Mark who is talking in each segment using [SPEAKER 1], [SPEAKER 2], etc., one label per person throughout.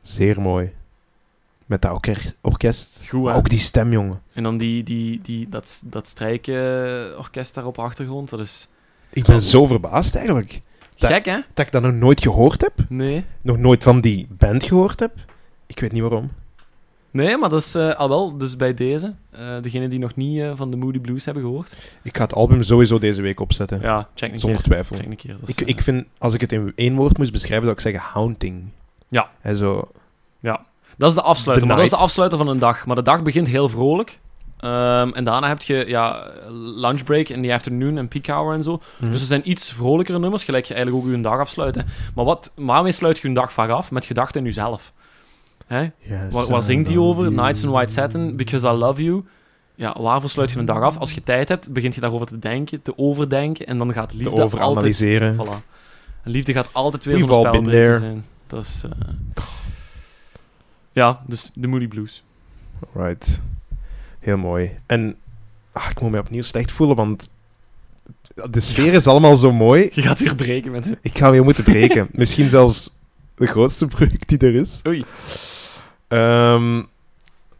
[SPEAKER 1] Zeer mooi. Met dat orke- orkest.
[SPEAKER 2] Goed,
[SPEAKER 1] Maar
[SPEAKER 2] hè?
[SPEAKER 1] ook die stem, jongen.
[SPEAKER 2] En dan die, die, die, dat, dat strijkenorkest daar op de achtergrond, dat is
[SPEAKER 1] Ik ben zo verbaasd eigenlijk. Dat-
[SPEAKER 2] gek, hè?
[SPEAKER 1] Dat ik dat nog nooit gehoord heb.
[SPEAKER 2] Nee.
[SPEAKER 1] Nog nooit van die band gehoord heb. Ik weet niet waarom.
[SPEAKER 2] Nee, maar dat is eh, al wel, dus bij deze, eh degene die nog niet eh, van de Moody Blues hebben gehoord.
[SPEAKER 1] Ik ga het album sowieso deze week opzetten.
[SPEAKER 2] Ja, check een
[SPEAKER 1] Zonder
[SPEAKER 2] keer.
[SPEAKER 1] twijfel.
[SPEAKER 2] Check een keer. dat is,
[SPEAKER 1] Ik,
[SPEAKER 2] eh,
[SPEAKER 1] ik vind, als ik het in één woord moest beschrijven, zou ik zeggen haunting.
[SPEAKER 2] Ja.
[SPEAKER 1] En zo,
[SPEAKER 2] Dat is de afsluiter.
[SPEAKER 1] The
[SPEAKER 2] Maar dat is
[SPEAKER 1] night.
[SPEAKER 2] de afsluiter van een dag. Maar de dag begint heel vrolijk. Ehm, en daarna heb je ja, lunchbreak in the afternoon en peak hour en zo.
[SPEAKER 1] Mhm.
[SPEAKER 2] Dus er zijn iets vrolijkere nummers, gelijk je eigenlijk ook je dag afsluit. Hè. Maar wat, waarmee sluit je een dag vaak af? Met gedachten in jezelf. Hè? Waar, waar zingt die over? Nights in White Satin, Because I Love You. Ja, waarvoor sluit je een dag af? Als je tijd hebt, begint je daarover te denken, te overdenken. En dan gaat
[SPEAKER 1] Te
[SPEAKER 2] liefde altijd...
[SPEAKER 1] overanalyseren.
[SPEAKER 2] Voilà. En liefde gaat altijd weer
[SPEAKER 1] We've
[SPEAKER 2] zo'n
[SPEAKER 1] all been
[SPEAKER 2] spelbreker
[SPEAKER 1] there.
[SPEAKER 2] zijn. Dat is... eh, Ja, dus de Moody Blues.
[SPEAKER 1] Right. Heel mooi. En ah, ik moet me opnieuw slecht voelen, want de sfeer is allemaal zo mooi.
[SPEAKER 2] Je gaat weer breken met...
[SPEAKER 1] Ik ga weer moeten breken. Misschien zelfs de grootste breuk die er is.
[SPEAKER 2] Oei.
[SPEAKER 1] Ehm,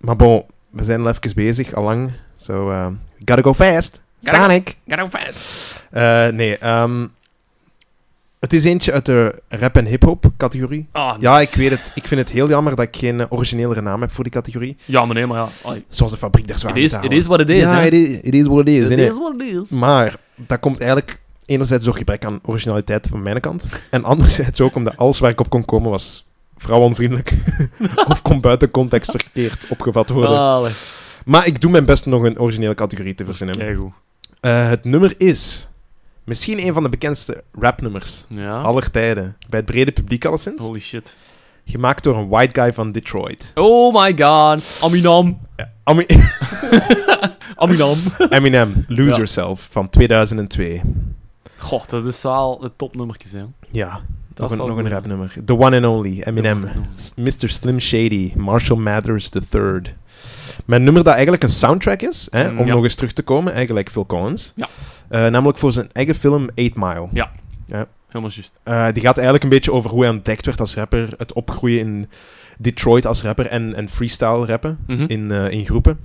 [SPEAKER 1] maar bon, we zijn al even bezig, allang. So, eh, gotta go fast.
[SPEAKER 2] Gotta go-
[SPEAKER 1] Sonic.
[SPEAKER 2] Gotta go fast.
[SPEAKER 1] Eh, nee, ehm, het is eentje uit de rap- en hip-hop categorie.
[SPEAKER 2] Ah,
[SPEAKER 1] Ja, ik
[SPEAKER 2] nice.
[SPEAKER 1] weet het. Ik vind het heel jammer dat ik geen eh, originelere naam heb voor die categorie.
[SPEAKER 2] Ja, maar nee, maar ja. Ai.
[SPEAKER 1] Zoals de fabriek der
[SPEAKER 2] It
[SPEAKER 1] zware
[SPEAKER 2] is,
[SPEAKER 1] metalen.
[SPEAKER 2] it is what it is,
[SPEAKER 1] Ja,
[SPEAKER 2] hè.
[SPEAKER 1] it is, it is what it is.
[SPEAKER 2] It
[SPEAKER 1] innit?
[SPEAKER 2] is what it is.
[SPEAKER 1] Maar dat komt eigenlijk enerzijds door gebrek aan originaliteit van mijn kant. En anderzijds ook omdat alles waar ik op kon komen was vrouwonvriendelijk. of kon buiten context verkeerd opgevat worden.
[SPEAKER 2] Zalig.
[SPEAKER 1] Maar ik doe mijn best nog een originele categorie te verzinnen.
[SPEAKER 2] Keigoed.
[SPEAKER 1] Eh, het nummer is misschien een van de bekendste rapnummers
[SPEAKER 2] Ja.
[SPEAKER 1] aller tijden. Bij het brede publiek alleszins.
[SPEAKER 2] Holy shit.
[SPEAKER 1] Gemaakt door een white guy van Detroit.
[SPEAKER 2] Oh my god. Aminam.
[SPEAKER 1] Ami-
[SPEAKER 2] Aminam.
[SPEAKER 1] Eminem, Lose
[SPEAKER 2] Ja.
[SPEAKER 1] Yourself van 2002.
[SPEAKER 2] God, dat is wel het topnummertje, hè.
[SPEAKER 1] Ja,
[SPEAKER 2] Dat
[SPEAKER 1] nog
[SPEAKER 2] is
[SPEAKER 1] een,
[SPEAKER 2] wel
[SPEAKER 1] nog een
[SPEAKER 2] goed.
[SPEAKER 1] rapnummer. The one and only, Eminem.
[SPEAKER 2] The one and only.
[SPEAKER 1] S- Mr. Slim Shady, Marshall Mathers III. Mijn nummer dat eigenlijk een soundtrack is, hè,
[SPEAKER 2] Mm,
[SPEAKER 1] om
[SPEAKER 2] ja.
[SPEAKER 1] nog eens terug te komen, eigenlijk Phil Collins.
[SPEAKER 2] Ja.
[SPEAKER 1] Eh, namelijk voor zijn eigen film 8 Mile.
[SPEAKER 2] Helemaal juist.
[SPEAKER 1] Eh, die gaat eigenlijk een beetje over hoe hij ontdekt werd als rapper, het opgroeien in Detroit als rapper en, en freestyle rappen
[SPEAKER 2] Mhm.
[SPEAKER 1] in, eh, in groepen.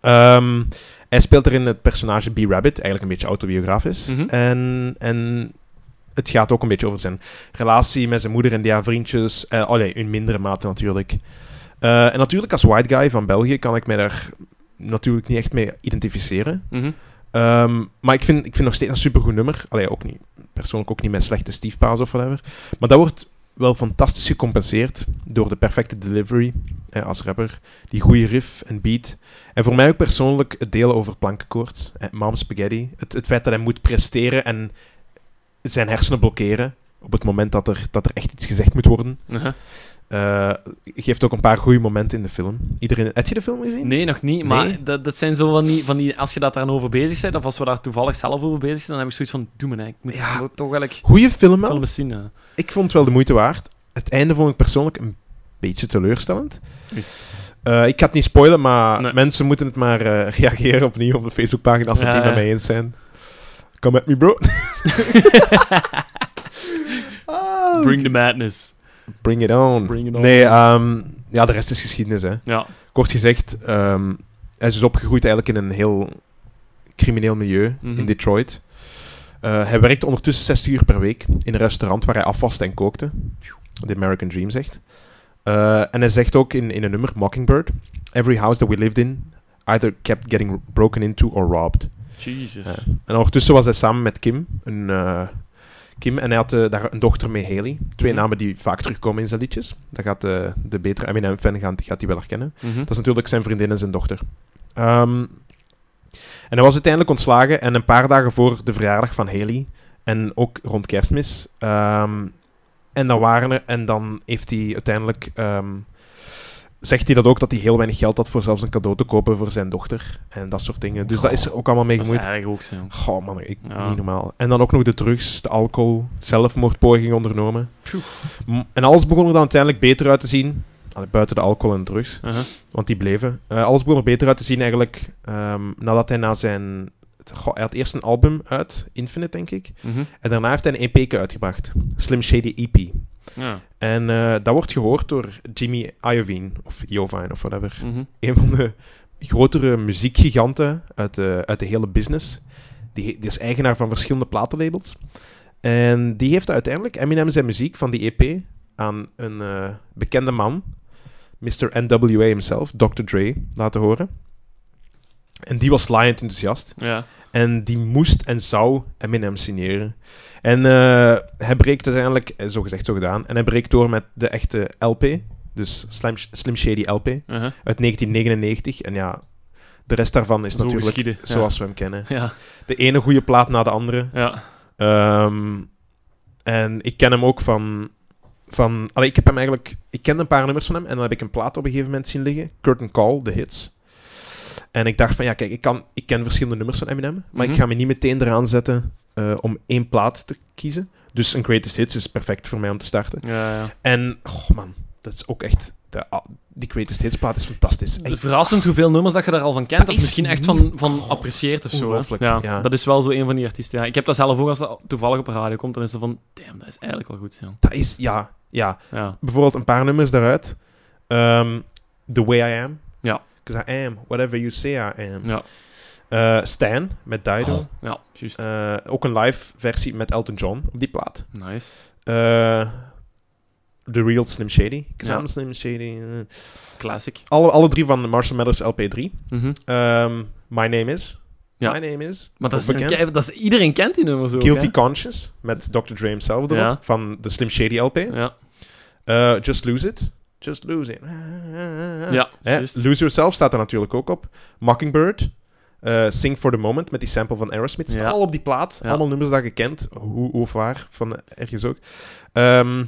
[SPEAKER 1] Ehm, hij speelt erin het personage B. Rabbit, eigenlijk een beetje autobiografisch.
[SPEAKER 2] Mhm.
[SPEAKER 1] en, en het gaat ook een beetje over zijn relatie met zijn moeder en die haar vriendjes. Eh oh nee, in mindere mate natuurlijk. Eh, en natuurlijk als white guy van België kan ik mij daar natuurlijk niet echt mee identificeren.
[SPEAKER 2] Mhm.
[SPEAKER 1] Ehm, maar ik vind, ik vind nog steeds een supergoed nummer. Allee, ook niet, persoonlijk ook niet mijn slechte stiefpaas of whatever. Maar dat wordt wel fantastisch gecompenseerd door de perfecte delivery eh, als rapper. Die goede riff en beat. En voor mij ook persoonlijk het delen over plankenkoorts. en Mom Spaghetti. Het, het feit dat hij moet presteren en zijn hersenen blokkeren. Op het moment dat er, dat er echt iets gezegd moet worden.
[SPEAKER 2] Uh-huh.
[SPEAKER 1] Eh, geeft ook een paar goede momenten in de film. Iedereen, heb je de film gezien?
[SPEAKER 2] Nee, nog niet. Maar
[SPEAKER 1] Nee?
[SPEAKER 2] dat, dat zijn zo van die, van die... Als je daar dan over bezig bent, of als we daar toevallig zelf over bezig zijn, dan heb ik zoiets van... Doe me, hè. Ik moet
[SPEAKER 1] Ja. Nou.
[SPEAKER 2] ik moet toch eigenlijk...
[SPEAKER 1] Goeie film, man.
[SPEAKER 2] Films zien, hè.
[SPEAKER 1] Ik vond het wel de moeite waard. Het einde vond ik persoonlijk een beetje teleurstellend.
[SPEAKER 2] Oei.
[SPEAKER 1] Eh, ik ga het niet spoilen, maar
[SPEAKER 2] Nee.
[SPEAKER 1] mensen moeten het maar eh, reageren opnieuw op de Facebookpagina als ze
[SPEAKER 2] Ja,
[SPEAKER 1] het niet
[SPEAKER 2] ja.
[SPEAKER 1] met mij eens zijn. Come at me, bro. Ah,
[SPEAKER 2] Bring the madness.
[SPEAKER 1] bring it on.
[SPEAKER 2] Bring it on.
[SPEAKER 1] Nee, ehm, ja, de rest is geschiedenis. Hè.
[SPEAKER 2] Ja.
[SPEAKER 1] Kort gezegd, ehm, hij is dus opgegroeid eigenlijk in een heel crimineel milieu
[SPEAKER 2] Mhm.
[SPEAKER 1] in Detroit. Eh, hij werkte ondertussen 60 uur per week in een restaurant waar hij afwaste en kookte. The American Dream zegt. Eh, en hij zegt ook in, in een nummer, Mockingbird, Every house that we lived in either kept getting broken into or robbed.
[SPEAKER 2] Jesus.
[SPEAKER 1] Ja. En ondertussen was hij samen met Kim, een, eh, Kim en hij had eh, daar een dochter mee, Haley. Twee
[SPEAKER 2] Mhm.
[SPEAKER 1] namen die vaak terugkomen in zijn liedjes. Dat gaat eh, de betere Eminem-fan gaan, gaat die wel herkennen.
[SPEAKER 2] Mhm.
[SPEAKER 1] Dat is natuurlijk zijn vriendin en zijn dochter. Ehm, en hij was uiteindelijk ontslagen en een paar dagen voor de verjaardag van Haley en ook rond kerstmis. ehm, en dan waren er, en dan heeft hij uiteindelijk, ehm, zegt hij dat ook, dat hij heel weinig geld had voor zelfs een cadeau te kopen voor zijn dochter en dat soort dingen. Dus dat is er ook allemaal mee
[SPEAKER 2] Dat is
[SPEAKER 1] gemoeid.
[SPEAKER 2] erg ook, zo.
[SPEAKER 1] Goh man, ik,
[SPEAKER 2] Ja.
[SPEAKER 1] niet normaal. En dan ook nog de drugs, de alcohol, zelfmoordpogingen ondernomen.
[SPEAKER 2] Pjoe.
[SPEAKER 1] M- En alles begon er dan uiteindelijk beter uit te zien, Allee, buiten de alcohol en drugs.
[SPEAKER 2] Uh-huh.
[SPEAKER 1] Want die bleven. Eh, alles begon er beter uit te zien eigenlijk ehm, nadat hij na zijn... Goh, hij had eerst een album uit, Infinite denk ik.
[SPEAKER 2] Mhm.
[SPEAKER 1] E En daarna heeft hij een EP'ke uitgebracht. Slim Shady EP.
[SPEAKER 2] Ja.
[SPEAKER 1] En eh, dat wordt gehoord door Jimmy Iovine, of Iovine of whatever.
[SPEAKER 2] Mhm.
[SPEAKER 1] Een van de grotere muziekgiganten uit de, uit de hele business. Die, he- die is eigenaar van verschillende platenlabels. En die heeft uiteindelijk Eminem zijn muziek van die EP aan een eh, bekende man, Mr. NWA himself, Dr. Dre, laten horen. En die was laaiend enthousiast.
[SPEAKER 2] ja.
[SPEAKER 1] En die moest en zou Eminem signeren. En eh, hij breekt uiteindelijk, eh, zo gezegd, zo gedaan. En hij breekt door met de echte LP. Dus Slim, Slim Shady LP
[SPEAKER 2] Uh-huh.
[SPEAKER 1] uit 1999. En ja, de rest daarvan is
[SPEAKER 2] Zo
[SPEAKER 1] natuurlijk
[SPEAKER 2] geschieden, ja.
[SPEAKER 1] zoals we hem kennen.
[SPEAKER 2] Ja.
[SPEAKER 1] De ene goede plaat na de andere.
[SPEAKER 2] Ja.
[SPEAKER 1] Ehm, en ik ken hem ook van... van allee, ik heb hem eigenlijk... Ik kende een paar nummers van hem en dan heb ik een plaat op een gegeven moment zien liggen. Curtain Call, de hits. En ik dacht van, ja, kijk, ik, kan, ik ken verschillende nummers van Eminem, maar ik
[SPEAKER 2] Mhm.
[SPEAKER 1] ga me niet meteen eraan zetten eh, om één plaat te kiezen. Dus een Greatest Hits is perfect voor mij om te starten.
[SPEAKER 2] Ja, ja.
[SPEAKER 1] En, oh man, dat is ook echt... De, ah, die Greatest Hits plaat is fantastisch. En
[SPEAKER 2] Verrassend hoeveel nummers dat je daar al van kent.
[SPEAKER 1] Dat
[SPEAKER 2] Dat
[SPEAKER 1] is
[SPEAKER 2] is misschien echt
[SPEAKER 1] niet- Oh,
[SPEAKER 2] van, van apprecieert of zo. hè.
[SPEAKER 1] Ongelooflijk,
[SPEAKER 2] Ja,
[SPEAKER 1] ja.
[SPEAKER 2] Dat is wel zo een van die artiesten. Ja. Ik heb dat zelf ook als dat toevallig op de radio komt. Dan is het van, damn, dat is eigenlijk wel goed. Ja.
[SPEAKER 1] dat is... Ja, ja.
[SPEAKER 2] Ja.
[SPEAKER 1] bijvoorbeeld een paar nummers daaruit. Ehm, The Way I Am.
[SPEAKER 2] Ja.
[SPEAKER 1] Because I am whatever you say I am.
[SPEAKER 2] Ja.
[SPEAKER 1] Eh, Stan met Dido.
[SPEAKER 2] ja, juist.
[SPEAKER 1] Eh, ook een live versie met Elton John op die plaat.
[SPEAKER 2] nice.
[SPEAKER 1] Eh, The Real Slim Shady. Because
[SPEAKER 2] Ja.
[SPEAKER 1] I'm Slim Shady. eh.
[SPEAKER 2] Classic.
[SPEAKER 1] Alle, alle drie van de Marshall Mathers LP3.
[SPEAKER 2] Mhm.
[SPEAKER 1] Ehm, My Name Is.
[SPEAKER 2] Ja.
[SPEAKER 1] My Name Is.
[SPEAKER 2] Maar dat is,
[SPEAKER 1] Ook bekend.
[SPEAKER 2] een- dat is, iedereen kent die nummers ook.
[SPEAKER 1] Guilty
[SPEAKER 2] hè?
[SPEAKER 1] Conscious met Dr. Dre himself erop,
[SPEAKER 2] Ja.
[SPEAKER 1] van de Slim Shady LP.
[SPEAKER 2] Ja,
[SPEAKER 1] Eh, Just Lose It. Just Lose It. Ah,
[SPEAKER 2] ja.
[SPEAKER 1] Hè,
[SPEAKER 2] juist.
[SPEAKER 1] Lose Yourself staat er natuurlijk ook op. Mockingbird. eh, Sing for the Moment met die sample van Aerosmith. Staat
[SPEAKER 2] Ja.
[SPEAKER 1] al op die plaat.
[SPEAKER 2] Ja.
[SPEAKER 1] Allemaal nummers dat je kent. Hoe, hoe of waar. Van ergens ook. Ehm,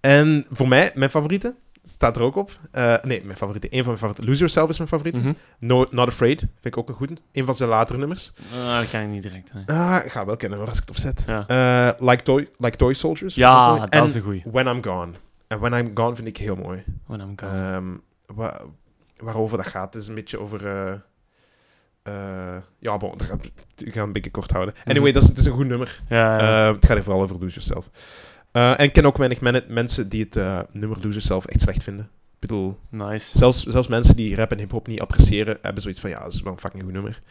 [SPEAKER 1] en voor mij, mijn favoriete. Staat er ook op. Eh, nee, mijn favoriete. Een van mijn favorieten. Lose Yourself is mijn favoriet.
[SPEAKER 2] Mhm.
[SPEAKER 1] No, Not Afraid. Vind ik ook een goed. Een van zijn latere nummers.
[SPEAKER 2] Ah, dat kan je niet direct. hè.
[SPEAKER 1] Ah, ik ga wel kennen hoor, als ik het opzet.
[SPEAKER 2] Ja,
[SPEAKER 1] Eh, like, toy, like Toy Soldiers.
[SPEAKER 2] ja
[SPEAKER 1] Ook mooi.
[SPEAKER 2] dat
[SPEAKER 1] en
[SPEAKER 2] is een goeie. Oh,
[SPEAKER 1] When I'm Gone. En When I'm Gone vind ik heel mooi.
[SPEAKER 2] When I'm gone.
[SPEAKER 1] Ehm, wa- waarover dat gaat, is een beetje over. eh, eh, ja, bon, dat ga, ik ga een beetje kort houden. Anyway,
[SPEAKER 2] Mhm.
[SPEAKER 1] dat is, het is een goed nummer.
[SPEAKER 2] ja, ja.
[SPEAKER 1] Eh, het gaat hier vooral over Lose Yourself. Eh, en ik ken ook weinig men- mensen die het eh, nummer Lose Yourself echt slecht vinden. Ik bedoel,
[SPEAKER 2] nice.
[SPEAKER 1] zelfs, zelfs mensen die rap en hip-hop niet appreciëren, hebben zoiets van: ja, dat is wel een fucking goed nummer.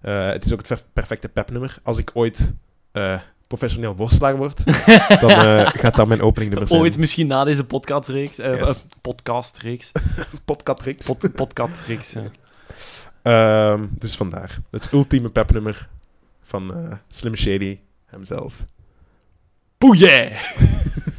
[SPEAKER 1] Eh, het is ook het ver- perfecte pepnummer. Als ik ooit eh, professioneel worstelaar word, dan eh, gaat dat mijn openingnummer zijn.
[SPEAKER 2] Ooit misschien na deze podcastreeks. eh
[SPEAKER 1] Yes.
[SPEAKER 2] eh, podcastreeks.
[SPEAKER 1] Podcatrix.
[SPEAKER 2] Pod, podcastreeks. eh. ja.
[SPEAKER 1] Ehm, dus vandaar. Het ultieme pepnummer van eh, Slim Shady hemzelf.
[SPEAKER 2] Poeie!